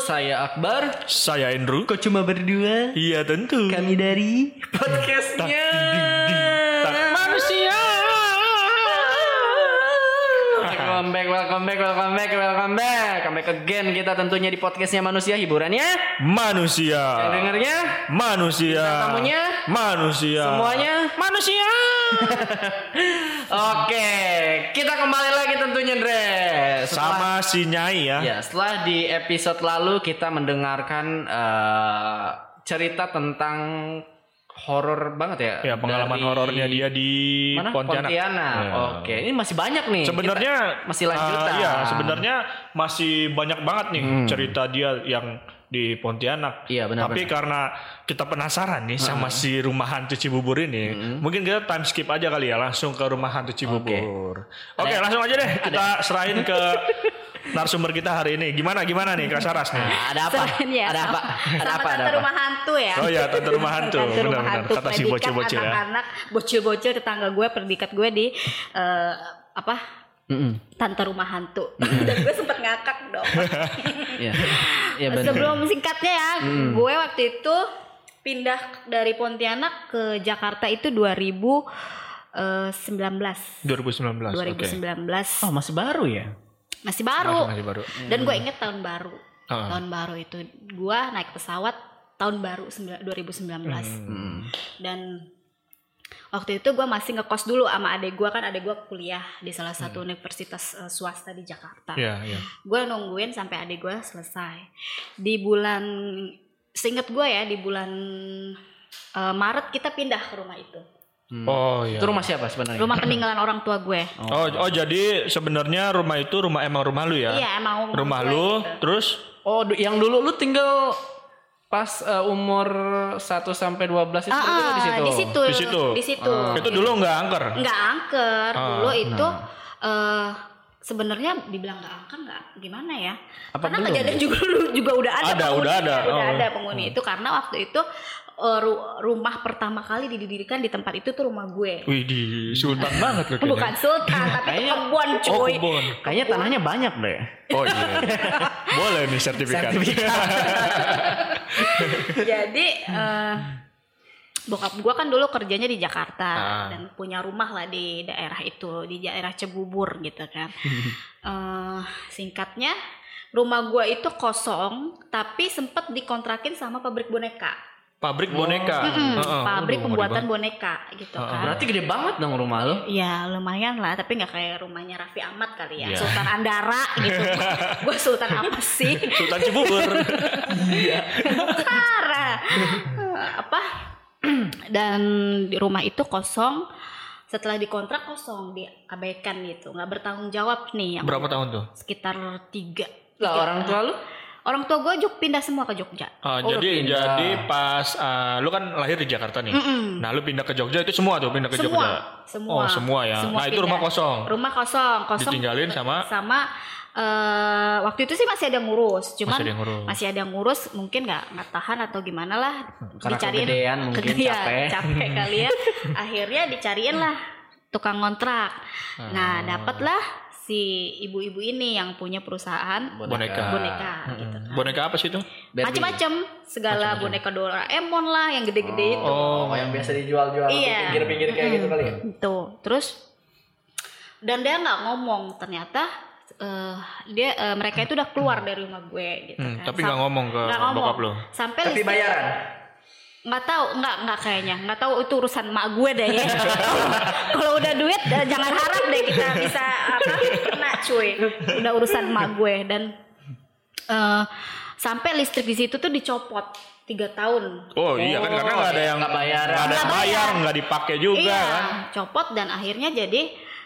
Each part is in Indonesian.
Saya Akbar. Saya Andrew. Kok cuma berdua? Iya tentu. Kami dari podcastnya. tak- Manusia. Welcome back, welcome back, welcome back, welcome back. Come back again kita tentunya di podcastnya manusia hiburannya. Manusia. Yang dengernya Manusia. Bintang tamunya? Manusia. semuanya manusia. Oke, kita kembali lagi tentunya Dre. Setelah- Sama si Nyai ya. Ya, setelah di episode lalu kita mendengarkan eh, cerita tentang horor banget Ya, ya. pengalaman Dari- horornya dia di mana? Pontianak. Ya. Oke, ini masih banyak nih. Sebenarnya Kita masih lanjutan. ah, iya, sebenarnya masih banyak banget nih cerita dia yang di Pontianak. Hmm. Iya, benar, Tapi karena kita penasaran nih sama si rumah hantu Cibubur ini, Hmm. mungkin kita time skip aja kali ya langsung ke rumah hantu Cibubur. Oke, Ada- langsung aja deh kita serahin ke narasumber kita hari ini. Gimana gimana nih Kak Saras nih? Nah, ada apa? Soalnya ya, Ada apa? sama- Ada sama apa? Ada tante apa? rumah hantu ya. Oh iya, tante rumah hantu. Tante Benar, rumah benar. hantu. Kata si Predikat bocil-bocil ya. Anak-anak bocil-bocil tetangga gue perdikat gue di eh, apa? Mm-mm. Tante rumah hantu. Dan gue sempet ngakak dong. Iya. Iya, benar. Sebelum singkatnya ya, gue waktu itu pindah dari Pontianak ke Jakarta itu eh, 2019. 2019. Oke. 2019 Oh, masih baru ya? masih baru. Masih baru. Dan gue inget tahun baru. Ah. Tahun baru itu gue naik pesawat tahun baru sembil- 2019. Hmm. Dan waktu itu gue masih ngekos dulu sama adek gue kan adek gue kuliah di salah satu universitas eh, swasta di Jakarta. Hmm. Iya, iya. Gue nungguin sampai adek gue selesai. Di bulan seinget gue ya di bulan eh, Maret kita pindah ke rumah itu. Hmm. Oh iya. Itu rumah siapa sebenarnya? Rumah peninggalan orang tua gue. Oh, oh jadi sebenarnya rumah itu rumah emang rumah lu ya? Iya emang orang Rumah tua lu, gitu. terus Oh, du- yang dulu lu tinggal pas eh, umur 1 sampai 12 itu Ah, lu ah, di situ. di situ. Di situ. Ah. Di situ. Mm. itu dulu nggak angker. nggak angker Ah, dulu itu eh sebenarnya dibilang nggak angker nggak gimana ya Apa karena belum? kejadian juga juga udah ada ya? Ada, penghuninya, udah ada. udah Oh. ada penghuni itu karena waktu itu eh, ru- rumah pertama kali didirikan di tempat itu tuh rumah gue Wih, di sultan banget lu kayaknya. bukan sultan tapi itu Kayaknya- kebon Oh, cuy kebon. Kayaknya tanahnya banyak deh. Oh iya. Boleh nih sertifikat. jadi Hmm. eh bokap gue kan dulu kerjanya di Jakarta Ah. dan punya rumah lah di daerah itu di daerah Cebubur gitu kan Eh singkatnya rumah gue itu kosong tapi sempet dikontrakin sama pabrik boneka Pabrik boneka. Mm-mm, Heeh. pabrik Aduh, pembuatan boneka Ah, gitu ah. kan Berarti gede banget dong rumah lu. Ya lumayan lah, tapi nggak kayak rumahnya Raffi Ahmad kali ya, Iya. Sultan Andara gitu. gue Sultan apa sih? Sultan Cibubur. Parah. Eh, apa dan di rumah itu kosong setelah dikontrak kosong diabaikan gitu nggak bertanggung jawab nih yang Berapa tahun tuh? sekitar tiga Lah Tiga. orang tua lu? orang tua gue juk pindah semua ke Jogja Ah, Oh, jadi udah pindah. jadi pas ah, lu kan lahir di Jakarta nih. Mm-mm. Nah, lu pindah ke Jogja itu semua tuh pindah ke semua Jogja. semua Oh, semua ya. nah, itu pindah. rumah kosong. rumah kosong kosong Ditinggalin sama- sama eh, waktu itu sih masih ada ngurus cuman Masih ada yang ngurus. masih ada yang ngurus mungkin nggak nggak tahan atau gimana lah Karena kegedean mungkin, Kegedean, capek. capek kali ya akhirnya dicariin lah tukang ngontrak Ah. nah dapatlah si ibu-ibu ini yang punya perusahaan Boneka. boneka Mm-mm. gitu kan. Boneka apa sih itu? Barbie. macam-macam segala boneka Doraemon lah yang gede-gede itu Oh, yang biasa dijual-jual di Iya. pinggir-pinggir kayak gitu kali ya. itu terus dan dia nggak ngomong ternyata eh, dia eh, mereka itu udah keluar dari rumah gue gitu Hmm, kan. tapi Sam- nggak ngomong ke nggak ngomong. bokap lo. sampai Tapi listrik- bayaran. nggak tahu nggak nggak kayaknya nggak tahu itu urusan mak gue deh ya kalau udah duit eh, jangan harap deh kita bisa apa kena cuy udah urusan mak gue dan eh, sampai listrik di situ tuh dicopot tiga tahun Oh, iya kan karena nggak ada yang nggak bayaran. nggak ada yang Nggak bayar, bayar. nggak dipakai juga iya, kan. copot dan akhirnya jadi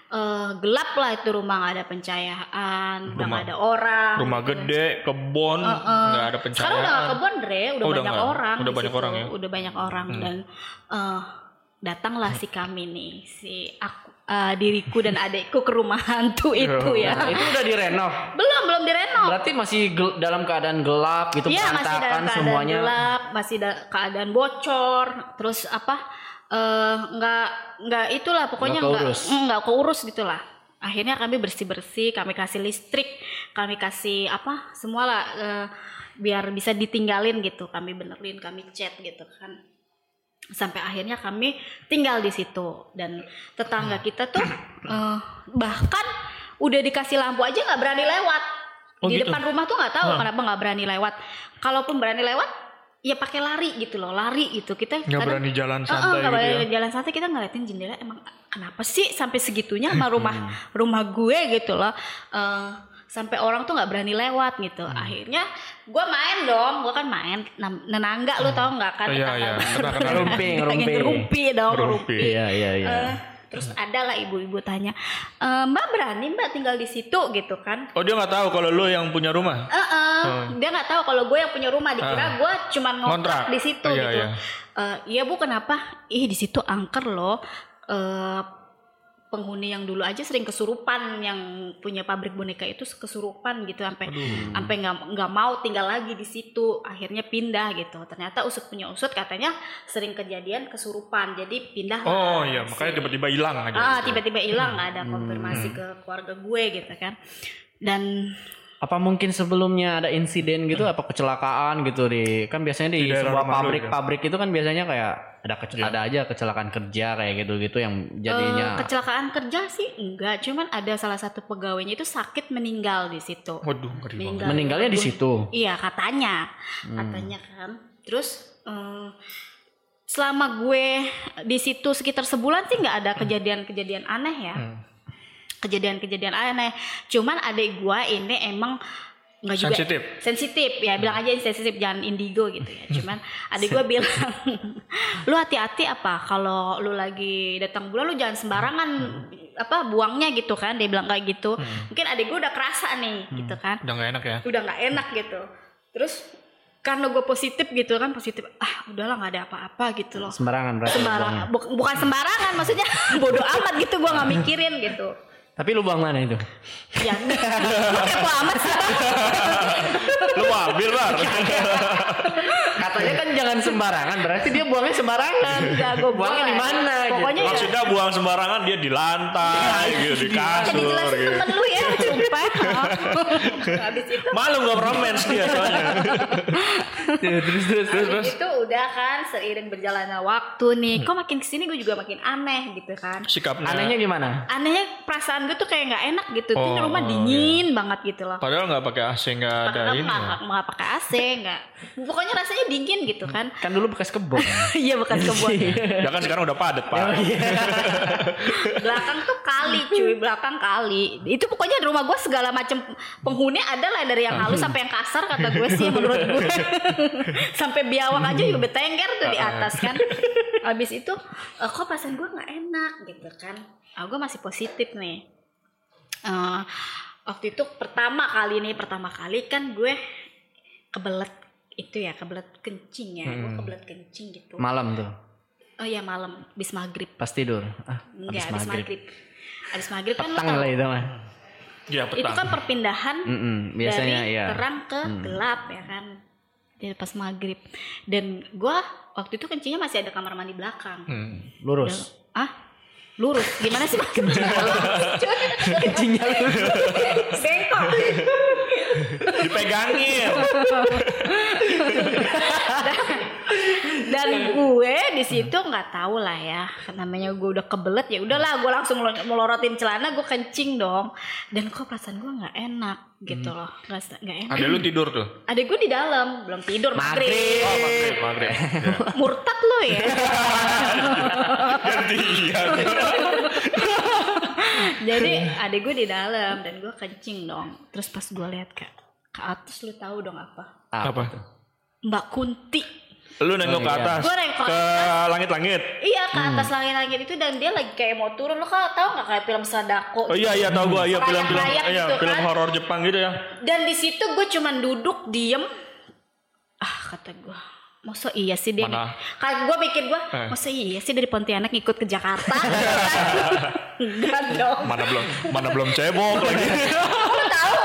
eh, gelap lah itu rumah nggak ada pencahayaan, udah Rumah- nggak ada orang. Rumah gitu. gede, kebon, Heeh. nggak ada pencahayaan. Sekarang udah nggak kebon Dre, udah, Oh, udah banyak nggak. orang. Udah di banyak situ. orang ya? Udah banyak orang Hmm. dan eh, datanglah si kami nih, si aku, eh, diriku dan adekku ke rumah hantu itu Nah, ya. Iya. itu udah direnov. Belum belum direnov. Berarti masih gel- dalam keadaan gelap gitu Iya masih dalam berantakan keadaan semuanya. gelap, masih da- keadaan bocor, terus apa eh, nggak nggak itulah pokoknya Nggak nggak keurus. mm, nggak keurus gitulah. Akhirnya kami bersih-bersih, kami kasih listrik, kami kasih apa? Semua lah eh, biar bisa ditinggalin gitu. Kami benerin, kami cat gitu kan. Sampai akhirnya kami tinggal di situ dan tetangga kita tuh eh, bahkan udah dikasih lampu aja nggak berani lewat. Oh, di gitu? depan rumah tuh nggak Hah. tahu kenapa nggak berani lewat. Kalaupun berani lewat, ya pakai lari gitu loh, lari gitu. Kita nggak kadang- berani jalan Heeh, santai gitu nggak ya. boleh jalan santai kita ngeliatin jendela emang kenapa sih sampai segitunya sama rumah rumah gue gitu loh Eh, sampai orang tuh nggak berani lewat gitu Hmm. akhirnya gue main dong gue kan main nam- nenangga lu tau nggak kan Iya, iya. Kenal-kenal. Rumpi, rumpi. rumpi dong Rumpi. rumpi Iya iya iya. Eh, terus ada lah ibu-ibu tanya "Eh, mbak berani mbak tinggal di situ gitu kan Oh dia nggak tahu kalau lu yang punya rumah. Eh, eh, Oh. dia nggak tahu kalau gue yang punya rumah dikira gue cuman Ngontrak. ngontrak di situ Iya, gitu. iya. Eh, Iya bu kenapa? Ih di situ angker loh. Eh, penghuni yang dulu aja sering kesurupan yang punya pabrik boneka itu kesurupan gitu sampai sampai nggak nggak mau tinggal lagi di situ akhirnya pindah gitu ternyata usut punya usut katanya sering kejadian kesurupan jadi pindah Oh iya, makanya tiba-tiba hilang aja. ah gitu. tiba-tiba hilang nggak ada konfirmasi Hmm. ke keluarga gue gitu kan dan Apa mungkin sebelumnya ada insiden gitu apa kecelakaan gitu di kan biasanya Di di, daerah sebuah rumah lu Iya. pabrik-pabrik gitu. itu kan biasanya kayak ada kece- ada aja kecelakaan kerja kayak gitu-gitu yang jadinya Eh, kecelakaan kerja sih enggak, cuman ada salah satu pegawainya itu sakit meninggal di situ. Waduh, ngeri banget. Meninggal. meninggalnya di situ. Iya katanya, Hmm. katanya kan. Terus eh, selama gue di situ sekitar sebulan sih nggak ada kejadian-kejadian aneh ya, Hmm. kejadian-kejadian aneh. Cuman adik gue ini emang nggak juga Sensitif. sensitif ya bilang aja sensitif jangan indigo gitu ya cuman adik gue bilang lu hati-hati apa kalau lu lagi datang bulan lu jangan sembarangan apa buangnya gitu kan dia bilang kayak gitu mungkin adik gue udah kerasa nih gitu kan Hmm. Udah nggak enak ya. udah nggak enak gitu terus karena gue positif gitu kan positif ah udahlah nggak ada apa-apa gitu loh Sembarangan berarti. lubangnya. sembarangan Buk- bukan sembarangan maksudnya bodoh amat gitu gue nggak mikirin gitu Tapi lubang mana itu? ya gue kepo amat sih Bang. Lu mau ambil bar. Katanya kan jangan sembarangan, berarti dia buangnya sembarangan. Enggak, gue Buangnya di mana? gitu. Iya, Pokoknya ya, Maksudnya buang sembarangan dia di lantai, gitu, di Iya. kasur. jadi jelas Gitu. Kan temen lu ya, sumpah. Habis itu, Malu nggak romance dia soalnya. terus terus terus. habis itu udah kan seiring berjalannya waktu nih. Kok makin kesini gue juga makin aneh gitu kan. Sikapnya. Anehnya gimana? Anehnya perasaan gue tuh kayak nggak enak gitu. Ini Oh, rumah iya. dingin banget gitu loh. Padahal nggak pakai AC nggak ada Padahal ini. ya. nggak nggak pakai AC, nggak. Pokoknya rasanya dingin gitu kan. Hmm. Kan dulu bekas kebun. Iya bekas kebun. Ya kan sekarang udah padat pak. Oh, iya. belakang tuh kali cuy belakang kali itu pokoknya di rumah gue segala macam penghuni ada lah dari yang halus sampai yang kasar kata gue sih menurut gue sampai biawak aja juga betengger tuh di atas kan abis itu eh, kok perasaan gue nggak enak gitu kan ah gue masih positif nih Eh, waktu itu pertama kali nih pertama kali kan gue kebelet itu ya kebelet kencing ya gue kebelet kencing gitu Malam tuh, oh ya malam bis maghrib pas tidur. Ah, habis Enggak, Iya, habis maghrib. maghrib. Habis maghrib kan lo Petang tau, lah itu mah. Iya itu kan petang. perpindahan Mm-mm, biasanya dari ya. terang ke gelap ya kan. Dari pas maghrib. Dan gua waktu itu kencingnya masih ada kamar mandi belakang. Hmm. Lurus. Ah, lurus. Gimana sih Pak? kencingnya lurus? Kencingnya lurus. Bengkok. Dipegangin. Dan gue di situ nggak tahu lah ya. Namanya gue udah kebelet ya udahlah gue langsung melo- melorotin celana gue kencing dong. Dan kok perasaan gue nggak enak gitu loh. Nggak se- nggak enak. Ada lu tidur tuh. Adik gue di dalam belum tidur maghrib. Oh Maghrib. maghrib maghrib. Ya. Murtad lo ya. Gantian. Jadi adik gue di dalam dan gue kencing dong. Terus pas gue lihat ke ke atas lu tahu dong apa? Apa? tuh? Mbak Kunti. Lu nengok ke iya. atas. Gua nengok ke Ke langit-langit. Iya ke Hmm. atas langit-langit itu dan dia lagi kayak mau turun. Lo kalau tahu nggak kayak film Sadako? Oh iya iya tahu gua iya film-film Rayap-rayap iya gitu film kan. horor Jepang gitu ya. Dan di situ gue cuman duduk diem. Ah kata gue. Masa iya sih dia Mana? Kalau gue mikir gue Eh. Masa iya sih dari Pontianak ngikut ke Jakarta Kan Enggak dong Mana belum mana belum cebok lagi. Lo tahu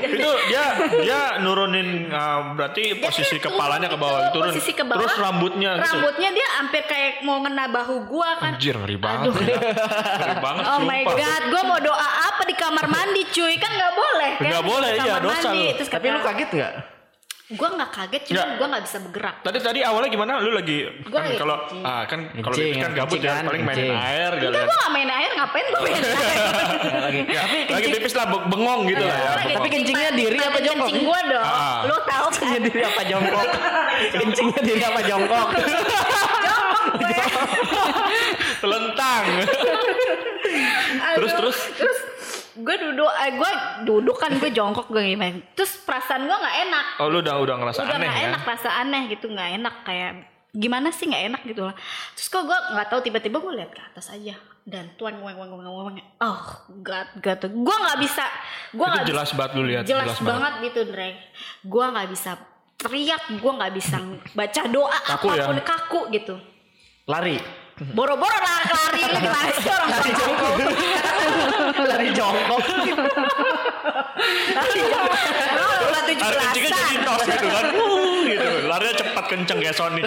itu dia dia nurunin uh, berarti Dia posisi kayak kepalanya ke turun bawah gitu, turun. posisi ke bawah. kan. Terus rambutnya gitu. Rambutnya dia hampir kayak mau ngena bahu gua kan. Anjir ngeri banget. Aduh. Ngeri banget Oh sumpah. my god, gua mau doa apa di kamar mandi cuy? Kan nggak boleh kan? Nggak boleh, Di iya, kamar dosa mandi. lu. Terus Tapi kata, lu kaget nggak? Gua nggak kaget, cuma Nggak. gua nggak bisa bergerak. Tadi tadi awalnya gimana? Lu lagi Gua kan lagi kalau kencing. ah kan kalau Kencing, kan gabut kencing ya kan, paling mainin kencing. air gitu. Enggak, gua nggak main air, ngapain gua main Iya, air? Nggak lagi. Tapi lagi tipis lah be- bengong gitu lah ya. Gua Iya, lagi Tapi bengong. kencing. kencingnya diri apa Kencing jongkok? Kencing gua dong. Ah. Lu tahu kan? Kencingnya diri apa jongkok? Kencingnya diri apa jongkok? Jongkok gue. telentang. Terus, Aduh. terus? terus gue duduk eh, gue duduk kan gue jongkok gue gimana terus perasaan gue nggak enak Oh lu udah udah ngerasa udah aneh nggak ya. enak rasa aneh gitu nggak enak kayak gimana sih nggak enak gitu lah terus kok gue nggak tahu tiba-tiba gue lihat ke atas aja dan tuan gue gue oh god god gue nggak bisa gue Itu nggak bisa- jelas banget lu lihat, jelas, jelas banget gitu Dre gue nggak bisa teriak gue nggak bisa baca doa Kaku ya? apapun kaku gitu Lari. boro-boro lah lari lu gimana sih orang tua kaku? Lari jongkok. Lari jauh. Emang lu udah Lari Ah, kencingnya jadi 17-an? tos gitu kan. Wuh, gitu. Larinya cepat kenceng kayak Sony.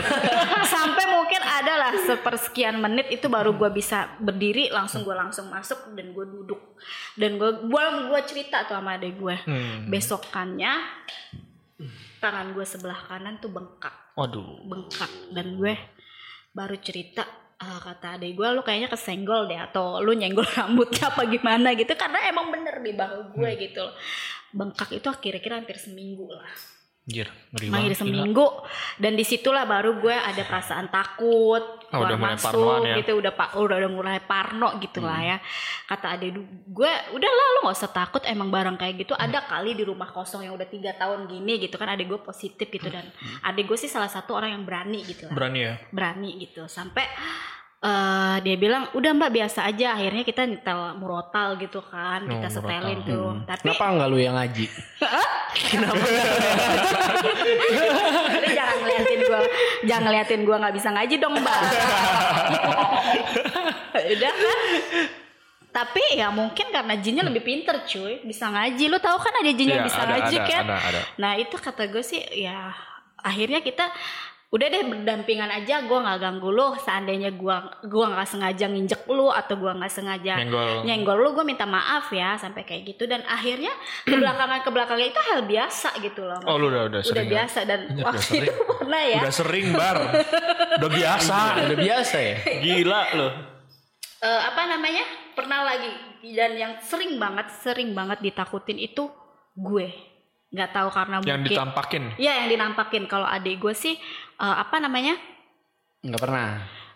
sampai mungkin ada lah sepersekian menit itu baru gue bisa berdiri langsung gue langsung masuk dan gue duduk dan gue gue cerita tuh sama adek gue Hmm. besokannya tangan gue sebelah kanan tuh bengkak Waduh. bengkak dan gue baru cerita "Ah, kata adek gue lu kayaknya kesenggol deh atau lu nyenggol rambutnya apa gimana gitu karena emang bener di bahu gue gitu loh bengkak itu kira-kira hampir seminggu lah Anjir, ngeri Manggil banget. gila. seminggu dan disitulah baru gue ada perasaan takut Ah, udah keluar mulai masuk parnoan ya. Hmm. gitu udah pak udah udah mulai parno gitu lah ya kata adek du- gue udahlah lu nggak usah takut emang barang kayak gitu Hmm. ada kali di rumah kosong yang udah tiga tahun gini gitu kan adek gue positif gitu dan Hmm. adek gue sih salah satu orang yang berani gitu lah Berani ya? berani gitu sampai eh, dia bilang udah mbak biasa aja akhirnya kita nyetel murotal gitu kan kita Oh, murotal. Hmm. setelin tuh tapi Hmm. Kenapa nggak lu yang ngaji? Tapi jangan ngeliatin gua, jangan ngeliatin gua nggak bisa ngaji dong mbak. Udah kan? Tapi ya mungkin karena jinnya lebih pinter cuy, bisa ngaji. Lu tahu kan ada jin yang Iya, bisa ada, ngaji ada, kan? ada, ada. Nah itu kata gue sih ya akhirnya kita udah deh berdampingan aja gua nggak ganggu lu seandainya gua gua nggak sengaja nginjek lu atau gua nggak sengaja Nyenggol. nyenggol lu gue minta maaf ya sampai kayak gitu dan akhirnya kebelakangan kebelakangnya itu hal biasa gitu loh Oh, lu udah- udah sering ya? biasa dan Udah waktu sering. itu pernah ya Udah sering bar. Udah biasa. Ah, Iya. udah biasa ya. Gila loh. eh, apa namanya pernah lagi dan yang sering banget sering banget ditakutin itu gue nggak tahu karena Yang mungkin ditampakin. ya yang dinampakin kalau adik gue sih eh, apa namanya Nggak pernah.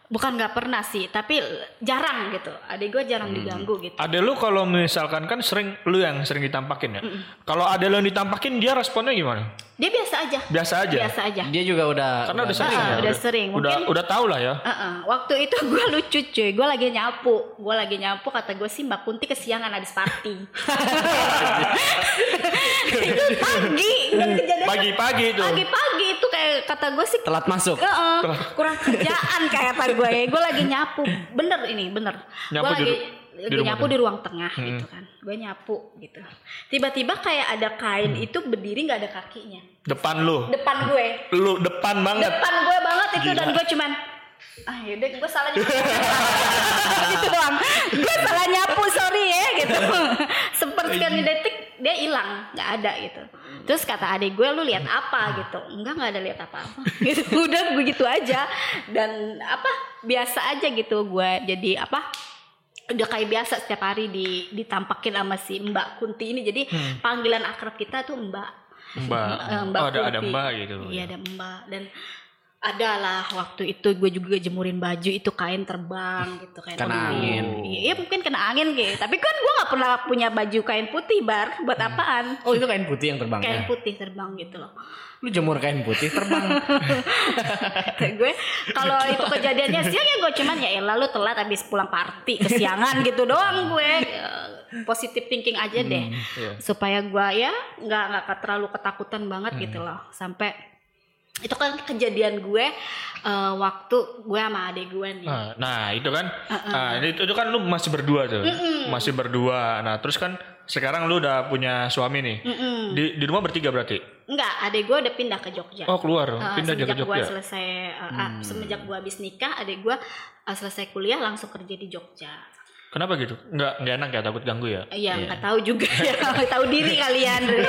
bukan nggak pernah sih tapi jarang gitu adik gue jarang Hmm. diganggu gitu Ada lu kalau misalkan kan sering lu yang sering ditampakin ya. Kalau ada lu yang ditampakin dia responnya gimana? dia biasa aja Biasa aja. biasa aja Dia juga udah. Karena udah sering. Ah, ya? Ya. udah sering. Udah Mungkin- udah tahu lah ya. Heeh, Waktu itu gue lucu cuy, gue lagi nyapu, gue lagi nyapu kata gue sih Mbak Kunti kesiangan habis party. itu pagi, dan kejadian Pagi-pagi itu. pagi-pagi itu kayak kata gue sih Telat masuk. "Heeh, kurang kerjaan kayak kata gue, gue lagi nyapu, bener ini bener. Gue Nyapu di lagi ru- di lagi rumah nyapu tuh. Hmm. di ruang tengah gitu kan, gue nyapu gitu. Tiba-tiba kayak ada kain Hmm. itu berdiri nggak ada kakinya, Depan lu. depan gue Lu depan banget. depan gue banget itu Gila. dan gue cuman ah yaudah gue salah nyapu gitu doang gue salah nyapu sorry ya gitu sepertikan detik dia hilang nggak ada gitu terus kata adik gue lu lihat apa gitu enggak nggak ada lihat apa-apa gitu udah gue gitu aja dan apa biasa aja gitu gue jadi apa udah kayak biasa setiap hari di ditampakin sama si Mbak Kunti ini jadi Hmm. panggilan akrab kita tuh Mbak Mbak. Eh, Oh, ada ada Kunti. Mbak gitu. Iya ada Mbak dan adalah waktu itu gue juga jemurin baju itu kain terbang gitu kain Kena putih. angin. Iya iya, mungkin kena angin gitu. Tapi kan gue nggak pernah punya baju kain putih bar buat Hmm. apaan? Oh itu kain putih yang iya. terbang Kain ya? putih terbang gitu loh. Lu jemur kain putih terbang. Kata gue kalau Gitu. itu kejadiannya siang ya gue cuman ya elah lu telat habis pulang party kesiangan gitu doang gue Eh, positive thinking aja deh iya. supaya gue ya nggak nggak ke- terlalu ketakutan banget Hmm. gitu loh sampai itu kan kejadian gue eh, waktu gue sama adik gue nih Nah, Uh-uh. nah, itu kan. Ah, itu, itu kan lu masih berdua tuh. Masih berdua. Nah, terus kan sekarang lu udah punya suami nih. Mm-mm. Di di rumah bertiga berarti. Enggak, adek gue udah pindah ke Jogja. Oh, keluar. Eh, Pindah aja ke Jogja. semenjak Hmm. Gua selesai eh, ah, semenjak gue habis nikah, adek gue selesai kuliah langsung kerja di Jogja. Kenapa gitu? Nggak nggak enak ya takut ganggu ya? Eh, Ya nggak tahu juga ya, nggak tahu diri kalian. Oh,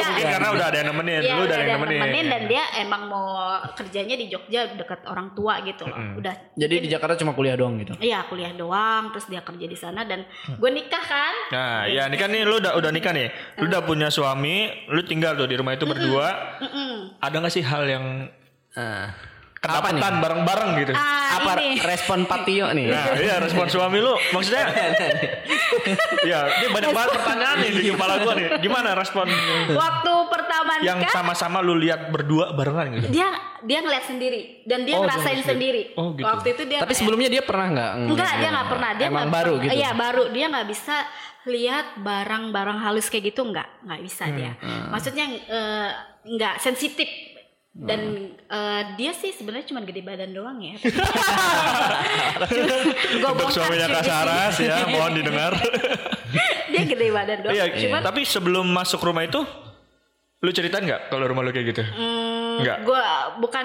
Nggak, mungkin eh, karena udah ada yang nemenin, Iya, lu udah udah ada yang nemenin. dan dia emang mau kerjanya di Jogja dekat orang tua gitu loh. Udah Jadi di Jakarta cuma kuliah doang gitu. iya kuliah doang terus dia kerja di sana dan Mm. gue nikah kan. Nah, ya ini kan nih lu udah udah nikah nih. Lu udah punya suami, lu tinggal tuh di rumah itu berdua. Mm-mm. Ada nggak sih hal yang Ah. Apa nih? kedapatan bareng-bareng gitu? Ah, Apa ini. respon Patio nih? Nah, iya respon suami lu maksudnya ya ini banyak banget pertanyaan nih di kepala gua nih. Gimana respon Waktu pertama yang nikah sama-sama lu lihat berdua barengan gitu? dia dia ngeliat sendiri dan dia Oh, dia ngerasain ngeliat sendiri. sendiri. Oh, gitu. Waktu itu dia Tapi kayak- sebelumnya dia pernah nggak? Enggak, dia nggak pernah. Dia Emang nggak- baru gitu. Iya, baru. Dia nggak bisa lihat barang-barang halus kayak gitu nggak, nggak bisa dia. Hmm, Maksudnya eh, nggak sensitif dan eh, dia sih sebenarnya cuma gede badan doang ya. Gua kan. Untuk bongkar suaminya sih. Kak Saras ya, mohon didengar. Dia gede badan doang. Iya, Cuman tapi sebelum masuk rumah itu lu ceritain nggak kalau rumah lu kayak gitu? Mm. Iya. Enggak. gue bukan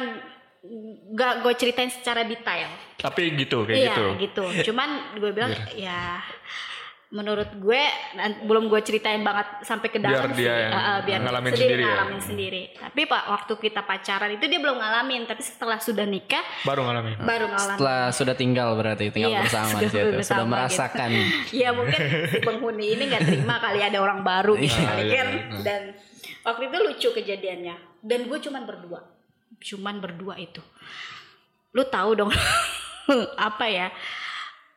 nggak gue ceritain secara detail. Tapi gitu kayak Iya gitu. gitu. Cuman gue bilang ya menurut gue nan- belum gue ceritain banget sampai ke Biar dalam dia yang Ah, ah, biar ngalamin sendiri, sendiri ya. ngalamin sendiri. Tapi pak waktu kita pacaran itu dia belum ngalamin, tapi setelah sudah nikah Baru ngalamin. baru ngalamin. Setelah sudah tinggal berarti tinggal Iya, bersama sudah di situ. bersama Sudah gitu. merasakan. ya mungkin si penghuni ini nggak terima kali ada orang baru gitu Iya, kali iya, kan. iya. Dan waktu itu lucu kejadiannya. Dan gue cuman berdua, cuman berdua itu. Lu tahu dong apa ya?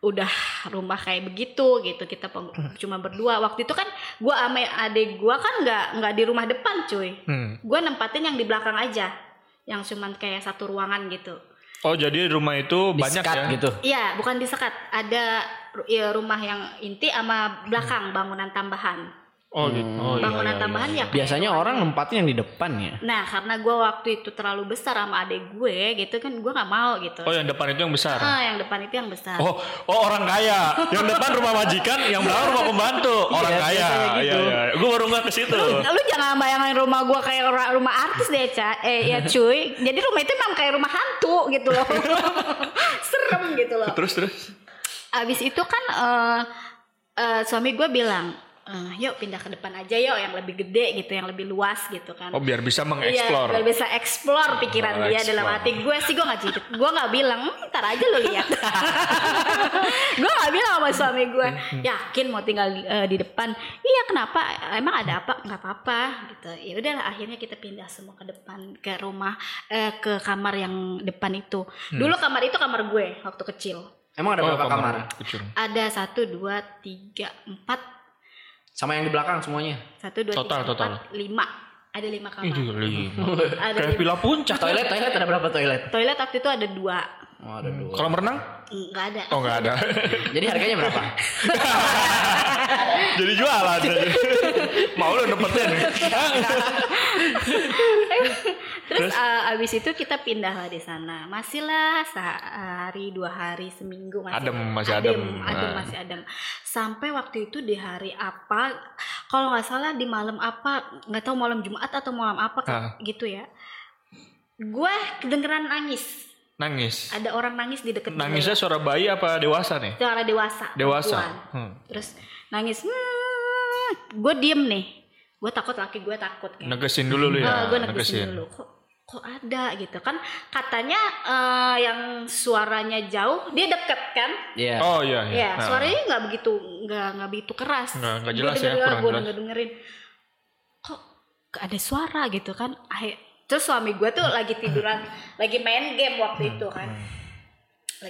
Udah rumah kayak begitu gitu kita peng- cuma berdua. Waktu itu kan gue sama adik gue kan nggak nggak di rumah depan cuy. Hmm. Gue nempatin yang di belakang aja, yang cuman kayak satu ruangan gitu. Oh jadi rumah itu banyak Diskat ya? gitu. Iya, bukan disekat. Ada ru- ya, rumah yang inti sama belakang bangunan tambahan. Oh gitu. Hmm. Hmm. Oh, iya, bangunan iya, tambahan iya. ya. Biasanya orang nempatin yang di depan ya. Nah, karena gue waktu itu terlalu besar sama adek gue, gitu kan gue nggak mau gitu. Oh yang depan itu yang besar. Ah, yang depan itu yang besar. Oh, oh orang kaya. Yang depan rumah majikan, yang belakang rumah pembantu. Orang Iya, kaya. biasanya Iya, gitu. iya. Gue baru nggak ke situ. Lu jangan bayangin rumah gue kayak ora- rumah artis deh, Ca. Eh, ya cuy. Jadi rumah itu memang kayak rumah hantu gitu loh. Serem gitu loh. Terus terus. Abis itu kan eh, eh, suami gue bilang, "Eh, yuk pindah ke depan aja yuk yang lebih gede gitu, yang lebih luas gitu kan. Oh biar bisa Iya, biar mengeksplor. bisa explore Oh, pikiran dia explore. dalam hati gue sih gue nggak jadi, gue nggak bilang "Hmm, ntar aja lo lihat. gue nggak bilang sama suami gue, yakin mau tinggal di- eh, di depan. Iya kenapa? Emang ada apa? Nggak apa-apa gitu. Ya udahlah akhirnya kita pindah semua ke depan ke rumah eh, ke kamar yang depan itu. Hmm. Dulu kamar itu kamar gue waktu kecil. Emang ada Oh, berapa kamar? kecil. Ada satu dua tiga empat Sama yang di belakang semuanya. satu dua Total, tiga total. empat lima ada lima Ih, kamar. juga Iya, lagi. Ada Kayak lima- villa puncak. Toilet toilet ada berapa toilet? Toilet waktu itu ada dua Oh, ada dua. Kolam renang? Enggak ada. Oh nggak ada. Jadi harganya berapa? Jadi jualan. Mau lu nempatin? Terus eh, abis itu kita pindah lah di sana. Masih lah sehari dua hari seminggu masih Adem, masih adem. adem, Nah. masih adem. Sampai waktu itu di hari apa? Kalau nggak salah di malam apa? Nggak tahu malam Jumat atau malam apa kayak Ah. gitu ya. Gue kedengeran nangis. Nangis. Ada orang nangis di deket gue. Nangisnya suara bayi apa dewasa nih? Itu orang dewasa. Dewasa. perempuan. Hmm. Terus nangis. Hmm, gue diem nih. Gue takut laki gue takut. kayak. Negesin dulu lu ya. gue Ah, negesin Eh, dulu kok kok ada gitu kan katanya eh, yang suaranya jauh dia deket kan Iya. Oh iya iya. ya Nah. suaranya nggak begitu nggak nggak begitu keras Nggak- nggak jelas ya, kurang gue jelas. dengerin kok nggak ada suara gitu kan Akhir- terus suami gue tuh lagi tiduran lagi main game waktu itu kan Hmm,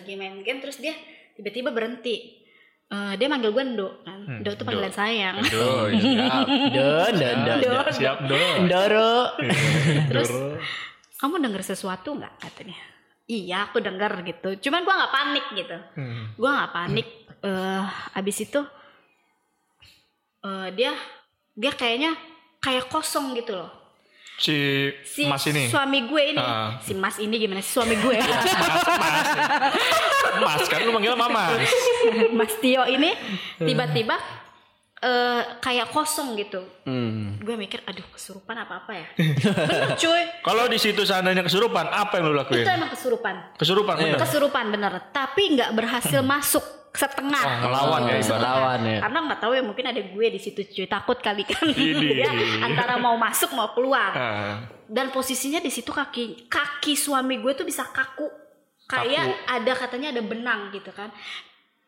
lagi main game terus dia tiba-tiba berhenti Eh, dia manggil gue Ndo kan Hmm, Ndo Ndo. tuh panggilan sayang Aduh, iya, siap. Dan dan dan. Siap, Siap dong. Doro. Terus kamu denger sesuatu nggak katanya? Iya aku denger gitu. Cuman gua nggak panik gitu. Hmm. Gua nggak panik. Eh abis itu eh dia dia kayaknya kayak kosong gitu loh. Si, Si Mas ini. suami gue ini, Ah. si Mas ini gimana sih suami gue? Mas kan lu manggil Mama. Mas Tio ini tiba-tiba eh, kayak kosong gitu. Hmm. Gue mikir, aduh kesurupan apa-apa ya. Bener cuy, Kalau di situ seandainya kesurupan, apa yang lu lakuin? Iya. itu emang kesurupan. Kesurupan bener. Kesurupan bener, tapi nggak berhasil masuk setengah. Wah, ngelawan ya Oh, ibarat. lawan ya. Karena nggak tahu ya mungkin ada gue di situ cuy takut kali kan Ini. ya, antara mau masuk mau keluar Ah. dan posisinya di situ kaki kaki suami gue tuh bisa kaku kayak ada katanya ada benang gitu kan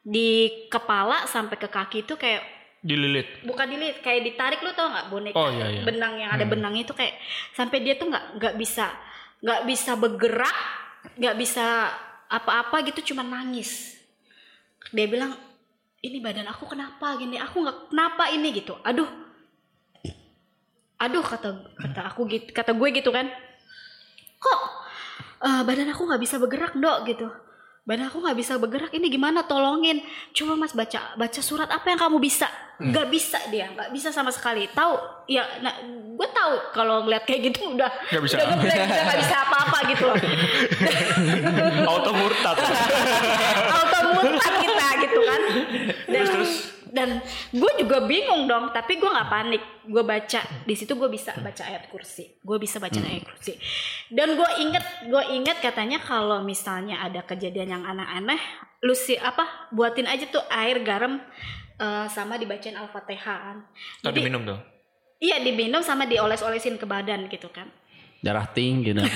di kepala sampai ke kaki itu kayak dililit. bukan dililit kayak ditarik lu tau nggak boneka Oh, iya, iya. benang yang ada benangnya itu kayak sampai dia tuh nggak nggak bisa nggak bisa bergerak nggak bisa apa-apa gitu cuma nangis dia bilang ini badan aku kenapa gini aku nggak kenapa ini gitu aduh aduh kata kata aku gitu kata gue gitu kan kok eh, badan aku nggak bisa bergerak dok gitu badan aku nggak bisa bergerak ini gimana tolongin coba mas baca baca surat apa yang kamu bisa Hmm. nggak bisa dia nggak bisa sama sekali tahu ya nah, gue tahu kalau ngeliat kayak gitu udah Nggak bisa. udah nggak bisa, udah nggak bisa apa-apa gitu loh Auto murtad. auto mutan kita gitu kan dan Terus, terus? dan gue juga bingung dong tapi gue nggak panik gue baca di situ gue bisa baca ayat kursi gue bisa baca Hmm. ayat kursi dan gue inget gue inget katanya kalau misalnya ada kejadian yang aneh-aneh lu si apa buatin aja tuh air garam eh, sama dibacain al-fatihah kan. Tadi Jadi- minum dong. iya diminum sama dioles-olesin ke badan gitu kan Darah tinggi dong.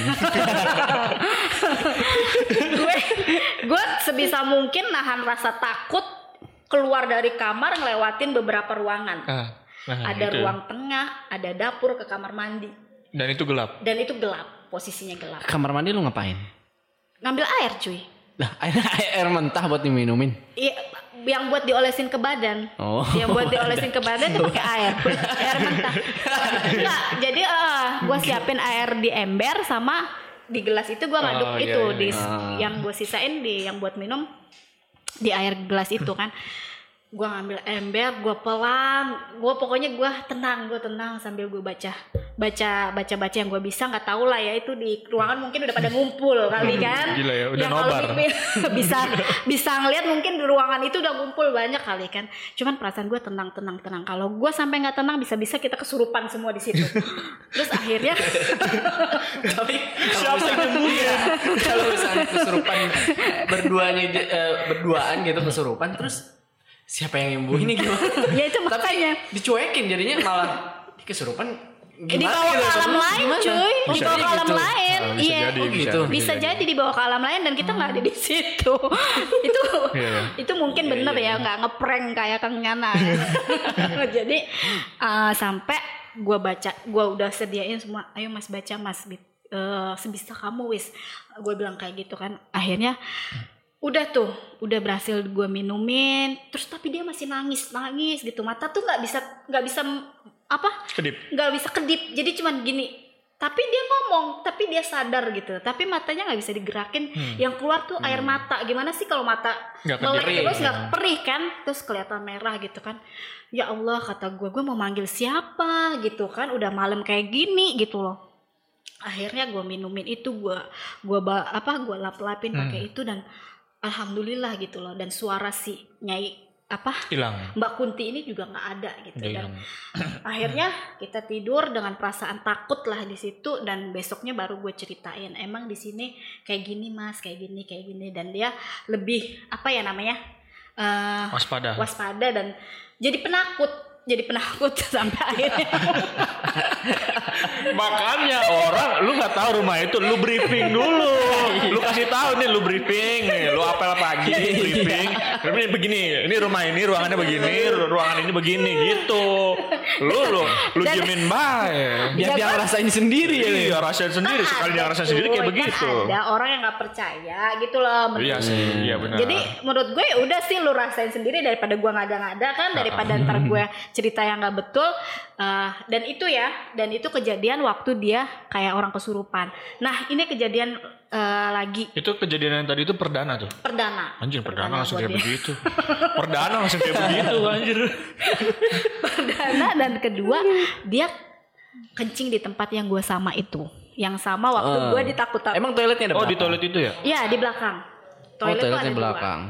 gue gue sebisa mungkin nahan rasa takut keluar dari kamar ngelewatin beberapa ruangan Ah, nah, ada itu. ruang tengah ada dapur ke kamar mandi Dan itu gelap. dan itu gelap posisinya gelap Kamar mandi lu ngapain? ngambil air cuy Lah, air, air mentah buat diminumin. Iya, yang buat diolesin ke badan Oh. yang Ya, buat diolesin ke badan tuh pakai air air mentah Enggak, jadi eh, gue siapin air di ember sama di gelas itu gue ngaduk Oh, iya, itu iya, di iya. yang gue sisain di yang buat minum di air gelas itu kan gue ngambil ember gue pelan gue pokoknya gue tenang gue tenang sambil gue baca baca baca baca yang gue bisa nggak tahu lah ya itu di ruangan mungkin udah pada ngumpul kali kan Gila ya, udah Yang kalau nobar. di- bisa bisa ngeliat mungkin di ruangan itu udah ngumpul banyak kali kan cuman perasaan gue tenang tenang tenang kalau gue sampai nggak tenang bisa bisa kita kesurupan semua di situ terus akhirnya Tapi siapa yang nemuin? Kalau misalnya kesurupan berduanya eh, berduaan gitu kesurupan terus siapa yang nyembuhin ini gimana? ya itu makanya Tapi dicuekin jadinya malah "Ih, kesurupan dibawa ke gitu, alam terus lain gimana?" cuy Oh, dibawa jadi ke alam gitu. lain Ah, bisa iya jadi, Oh, gitu. bisa, ya. jadi dibawa ke alam lain dan kita nggak ada di situ itu Iya, iya. itu mungkin bener ya nggak ngeprank kayak kang Yana jadi eh, sampai gua baca gua udah sediain semua ayo mas baca mas Bit. Eh, sebisa kamu wis gue bilang kayak gitu kan akhirnya udah tuh udah berhasil gue minumin terus tapi dia masih nangis nangis gitu mata tuh nggak bisa nggak bisa apa Kedip. nggak bisa kedip jadi cuman gini tapi dia ngomong tapi dia sadar gitu tapi matanya nggak bisa digerakin yang keluar tuh air mata gimana sih kalau mata Hmm. Nggak akan melek perih, terus nggak ya. perih kan terus kelihatan merah gitu kan ya Allah kata gue gue mau manggil siapa gitu kan udah malam kayak gini gitu loh akhirnya gue minumin itu gue gue ba- apa gue lap lapin pakai itu dan alhamdulillah gitu loh dan suara si nyai apa Hilang. Mbak Kunti ini juga nggak ada gitu Udah dan hilang. akhirnya kita tidur dengan perasaan takut lah di situ dan besoknya baru gue ceritain emang di sini kayak gini mas kayak gini kayak gini dan dia lebih apa ya namanya eh, Waspada. waspada dan jadi penakut jadi penakut sampai akhirnya Makanya orang lu nggak tahu rumah itu, lu briefing dulu. Lu kasih tahu nih lu briefing nih, lu apel pagi Iya. briefing. Ini begini, ini rumah ini ruangannya begini, ru- ruangan ini begini gitu. Lu lu lu Dan- Iya. jamin baik. Biar dia ngerasain sendiri ya. Iya, rasain sendiri sekali dia ngerasain sendiri kayak Kan begitu. ada orang yang nggak percaya gitu loh menurut Iya sih, iya benar. Jadi menurut gue ya udah sih lu rasain sendiri daripada gue ngada-ngada kan Ah, daripada ntar Hmm. gue cerita yang nggak betul Eh, dan itu ya dan itu kejadian waktu dia kayak orang kesurupan. Nah ini kejadian eh, lagi itu kejadian yang tadi itu perdana tuh. perdana. Anjir perdana langsung buat kayak dia. begitu. Perdana langsung kayak begitu anjir. Perdana Nah, dan kedua dia kencing di tempat yang gue sama itu, yang sama waktu Eh. gue ditakut Emang toiletnya ada Oh di belakang? toilet itu ya? Ya di Iya, belakang. Oh, Toilet tuh ada toiletnya dua. belakang.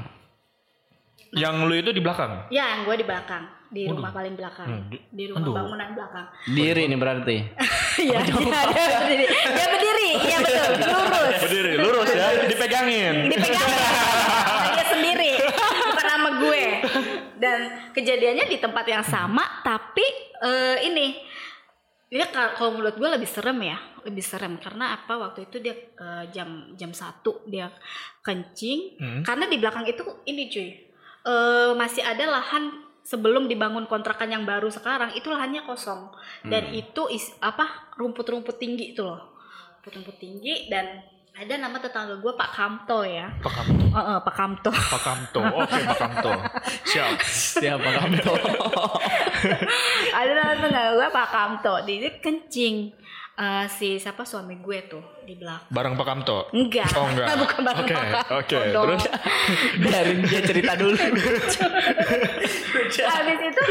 Yang lu itu di belakang. Ya, yang gue di belakang, di Waduh. rumah paling belakang, Hmm, di- di rumah aduh. bangunan belakang. Diri nih berarti. Iya, iya, dia berdiri. Dia berdiri, iya betul, lurus. Berdiri lurus ya, dipegangin. Dipegangin sama dia sendiri, bukan sama gue. Dan kejadiannya di tempat yang sama, tapi eh, ini dia ka- kalau menurut gue lebih serem ya, lebih serem karena apa? Waktu itu dia eh, jam jam satu dia kencing, Hmm. karena di belakang itu ini cuy eh, masih ada lahan sebelum dibangun kontrakan yang baru sekarang itu lahannya kosong dan Hmm. itu is, apa rumput-rumput tinggi itu loh rumput-rumput tinggi dan ada nama tetangga gue Pak Kamto ya Pak Kamto. Eh, eh, Pak Kamto Pak Kamto. Oke, Pak Kamto. Siap. Siapa kamu tuh? ada nama tetangga gue Pak Kamto dia dia kencing Eh, si siapa suami gue tuh di belakang Barang Pak Kamto. enggak, Oh, enggak. bukan barang Oke, Pak Kamto oke. dong. Terus? Biarin dia cerita dulu. habis itu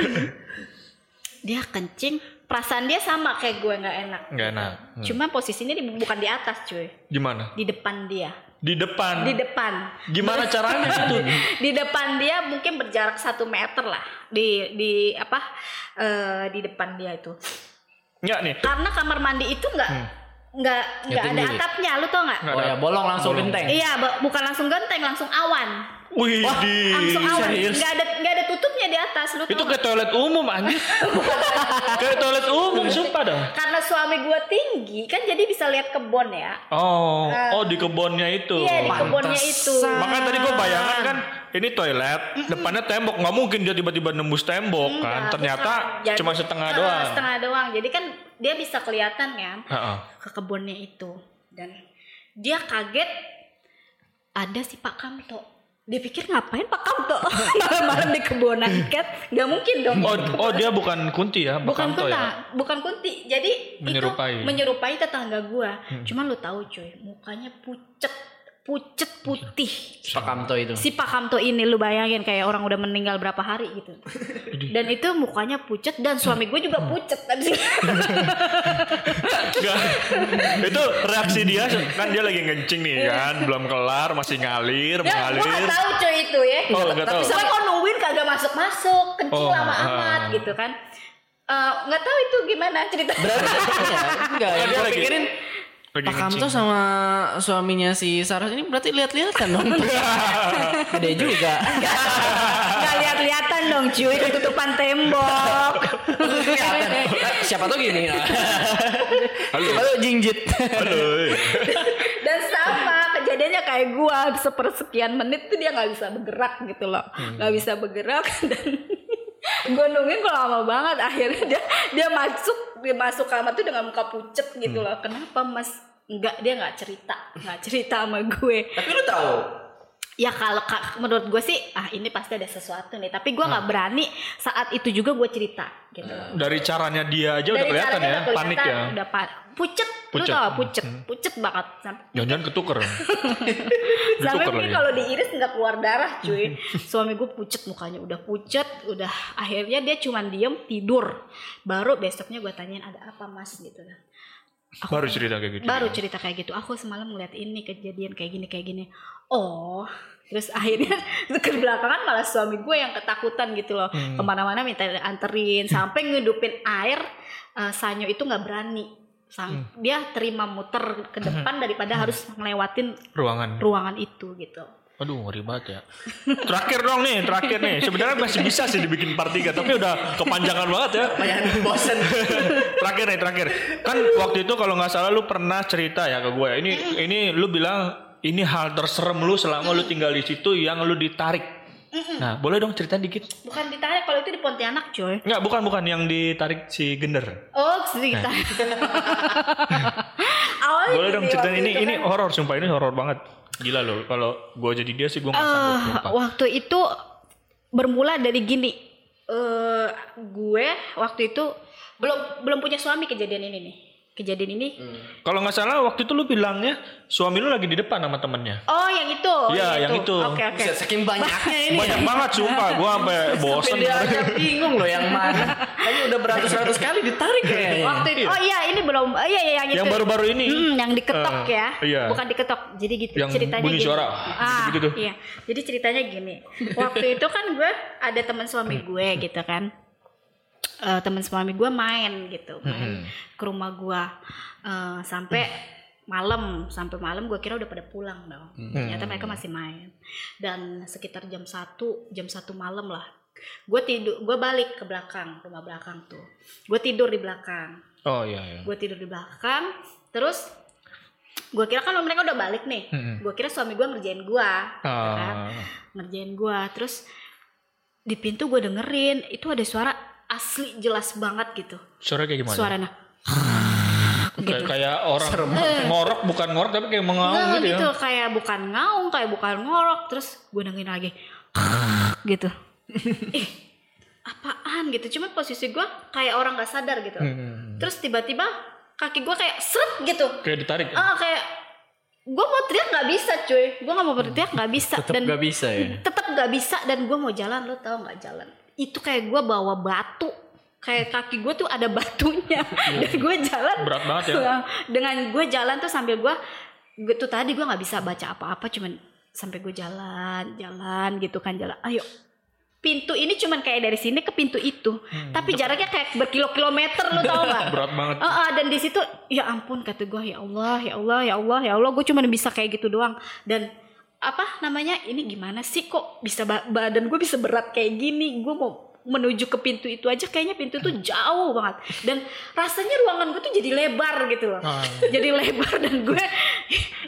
dia kencing perasaan dia sama kayak gue nggak enak Nggak enak. Hmm. cuma posisinya di, bukan di atas cuy Gimana? di depan dia Di depan. di depan Gimana caranya itu? di depan dia mungkin berjarak satu meter lah di di apa eh, di depan dia itu Enggak nih. karena kamar mandi itu nggak Hmm. nggak nggak ada tinggi. atapnya lu tau nggak Nggak. Oh ya bolong langsung Bolong. genteng. iya bu- bukan langsung genteng langsung awan Wih, di. langsung awan serius? nggak ada nggak ada tutupnya di atas lu Itu ke tau nggak? toilet umum anjir. ke toilet umum sumpah dong. karena suami gua tinggi kan jadi bisa lihat kebon ya Oh, oh di kebunnya itu. Iya di kebunnya itu. Makanya tadi gue bayangan kan ini toilet, depannya tembok, nggak mungkin dia tiba-tiba nembus tembok Enggak, kan. bukan. Ternyata Iya, Jadi- cuma setengah Eh, doang. Setengah doang. Jadi kan dia bisa kelihatan kan Heeh. ke kebunnya itu dan dia kaget ada si Pak Kamto. Dia pikir ngapain Pak Kamto malam-malam di kebonan kan? Gak mungkin dong. Oh, oh dia bukan kunti ya, bukan bukan kunta, ya. bukan kunti. Jadi Menyerupai. Hmm. itu menyerupai tetangga gua. Cuman lu tahu cuy, mukanya pucet, pucet putih Pak Kamto itu. si Pak Kamto ini lu bayangin kayak orang udah meninggal berapa hari gitu dan itu mukanya pucet dan suami gue juga Hmm. pucet abis itu. Enggak. itu reaksi dia kan dia lagi ngencing nih kan, belum kelar masih ngalir, dan gue mengalir. gak Nah, tahu cuy itu ya Oh, nggak tapi tahu. soalnya kok nungguin kagak masuk masuk kencing Oh, lama ah. amat gitu kan Eh, nggak tahu itu gimana cerita Berarti iya, enggak. Dia Yang gua lagi- pikirin Lagi Pak Kamto ngencing. sama suaminya si Saras ini berarti lihat-lihatan dong. Gede juga. nggak lihat-lihatan dong cuy ketutupan tembok Siapa tuh gini? Halo. Siapa tuh jingjit? Aduh. dan sama kejadiannya kayak gua sepersekian menit tuh dia nggak bisa bergerak gitu loh Hmm. nggak bisa bergerak dan gue nungguin kok lama banget akhirnya dia dia masuk dia masuk kamar tuh dengan muka pucet gitu Hmm. loh kenapa mas nggak dia nggak cerita nggak cerita sama gue Tapi lu tahu ya kalau ka- menurut gue sih ah ini pasti ada sesuatu nih tapi gua nggak berani saat itu juga gue cerita gitu loh Dari caranya dia aja udah Dari kelihatan caranya ya, udah panik ya. kelihatan, udah pa- pucet, Pucet. Hmm. lu tau gak pucet pucet banget Sampai- Jangan-jangan ketuker. Sampai Ditukar mungkin lagi. kalau diiris nggak keluar darah cuy. Suami gue pucet mukanya, udah pucet, udah akhirnya dia cuman diem tidur. Baru besoknya gue tanyain ada apa mas gitu kan. Aku- Baru cerita kayak gitu. Baru cerita kayak gitu. Aku semalam ngeliat ini kejadian kayak gini kayak gini. Oh, terus akhirnya ke belakangan malah suami gue yang ketakutan gitu loh. Hmm. Kemana-mana minta anterin sampai ngedupin air eh, Sanyo itu nggak berani. Hmm. Sang, Dia terima muter ke depan daripada harus ngelewatin ruangan. ruangan itu gitu. Aduh ngeri banget ya. Terakhir dong nih, terakhir nih. Sebenarnya masih bisa sih dibikin part 3 tapi udah kepanjangan banget ya. banyak bosen. Terakhir nih, terakhir. Kan waktu itu kalau nggak salah lu pernah cerita ya ke gue. Ini ini lu bilang ini hal terserem lu selama lu tinggal di situ yang lu ditarik. Nah, boleh dong cerita dikit? Bukan ditarik kalau itu di Pontianak coy. Enggak, bukan bukan yang ditarik si gender. Oh cerita. Awalnya Nah. Boleh gini, dong cerita Oh, iya, waktu ini itu ini kan, horor sumpah ini horor banget. Gila loh kalau gue jadi dia sih gue nggak sanggup eh, sumpah. waktu itu bermula dari gini. eh gue waktu itu belum belum punya suami kejadian ini nih. kejadian ini Kalau nggak salah waktu itu lu bilangnya suami lu lagi di depan sama temennya. oh yang itu Iya, yang itu. oke oke Buset, saking banyaknya ini. Iya. ya. Banyak banget sumpah gua sampai bosen. Sampai dia agak bingung loh yang mana. Tapi udah beratus-ratus kali ditarik kayaknya. waktu itu oh iya ini belum oh iya iya yang itu ya? Yang baru-baru ini. Hmm, yang diketok Eh, ya iya. bukan diketok jadi gitu Yang ceritanya bunyi gini. suara, ah gitu-gitu. iya jadi ceritanya gini waktu itu kan gue ada teman suami gue gitu kan Eh, teman suami gue main gitu Hmm. main ke rumah gue Eh, sampai malam sampai malam gue kira udah pada pulang dong ternyata mereka masih main dan sekitar jam 1 jam 1 malam lah gue tidur gue balik ke belakang rumah belakang tuh gue tidur di belakang Oh iya iya. gue tidur di belakang terus gue kira kan mereka udah balik nih Mm-mm. gue kira suami gue ngerjain gue kan? Ah. ngerjain gue terus di pintu gue dengerin itu ada suara asli jelas banget gitu Suara kayak gimana? suaranya Gitu. Kayak, kayak orang ngorok bukan ngorok tapi kayak mengaum Nah, gitu, gitu, ya. kayak bukan ngaung kayak bukan ngorok terus gue dengerin lagi gitu Ih, apaan gitu cuman posisi gue kayak orang gak sadar gitu Hmm. terus tiba-tiba kaki gue kayak seret gitu Kayak ditarik. Ah kayak gue mau teriak nggak bisa cuy, gue nggak mau berteriak nggak bisa Hmm. Tetep dan nggak bisa ya? tetap nggak bisa dan gue mau jalan lo tau nggak jalan itu kayak gue bawa batu kayak kaki gue tuh ada batunya dan gue jalan Berat banget ya. Iya. dengan gue jalan tuh sambil gue gue tuh tadi gue nggak bisa baca apa-apa cuman sampai gue jalan jalan gitu kan jalan ayo pintu ini cuman kayak dari sini ke pintu itu Hmm. tapi jaraknya kayak berkilo-kilometer lo tau nggak Berat banget. Ah, ah, dan di situ ya ampun kata gue ya Allah ya Allah ya Allah ya Allah gue cuma bisa kayak gitu doang dan apa namanya ini gimana sih kok bisa ba- badan gue bisa berat kayak gini gue mau menuju ke pintu itu aja kayaknya pintu itu jauh banget dan rasanya ruangan gue tuh jadi lebar gitu loh Ah. jadi lebar dan gue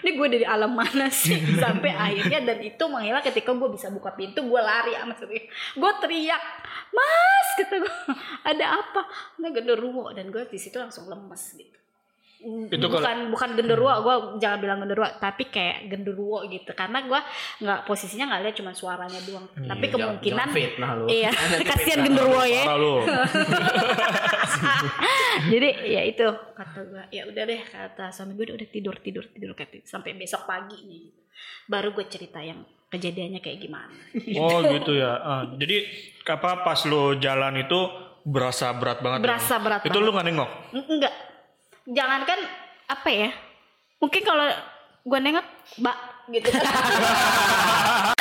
ini gue dari alam mana sih sampai akhirnya dan itu menghilang ketika gue bisa buka pintu gue lari sama suami gue teriak mas kata gue ada apa nah genderuwo dan gue di situ langsung lemes gitu Itu kalau- Hmm. bukan bukan genderuwo gue jangan bilang genderuwo tapi kayak genderuwo gitu karena gue nggak posisinya nggak lihat cuma suaranya doang Hmm. Iya, tapi Jangan- kemungkinan jangan fitnah lu. iya Nanti kasihan fitnah. genderuwo ya Parah lu. jadi ya itu kata gue ya udah deh kata suami gue udah tidur tidur tidur kata sampai besok pagi nih baru gue cerita yang kejadiannya kayak gimana Oh gitu ya. Ah, jadi apa pas lu jalan itu berasa berat banget. ya? Berasa berat Itu lu nggak nengok. Eng- enggak jangankan apa ya mungkin kalau gue nengok mbak gitu kan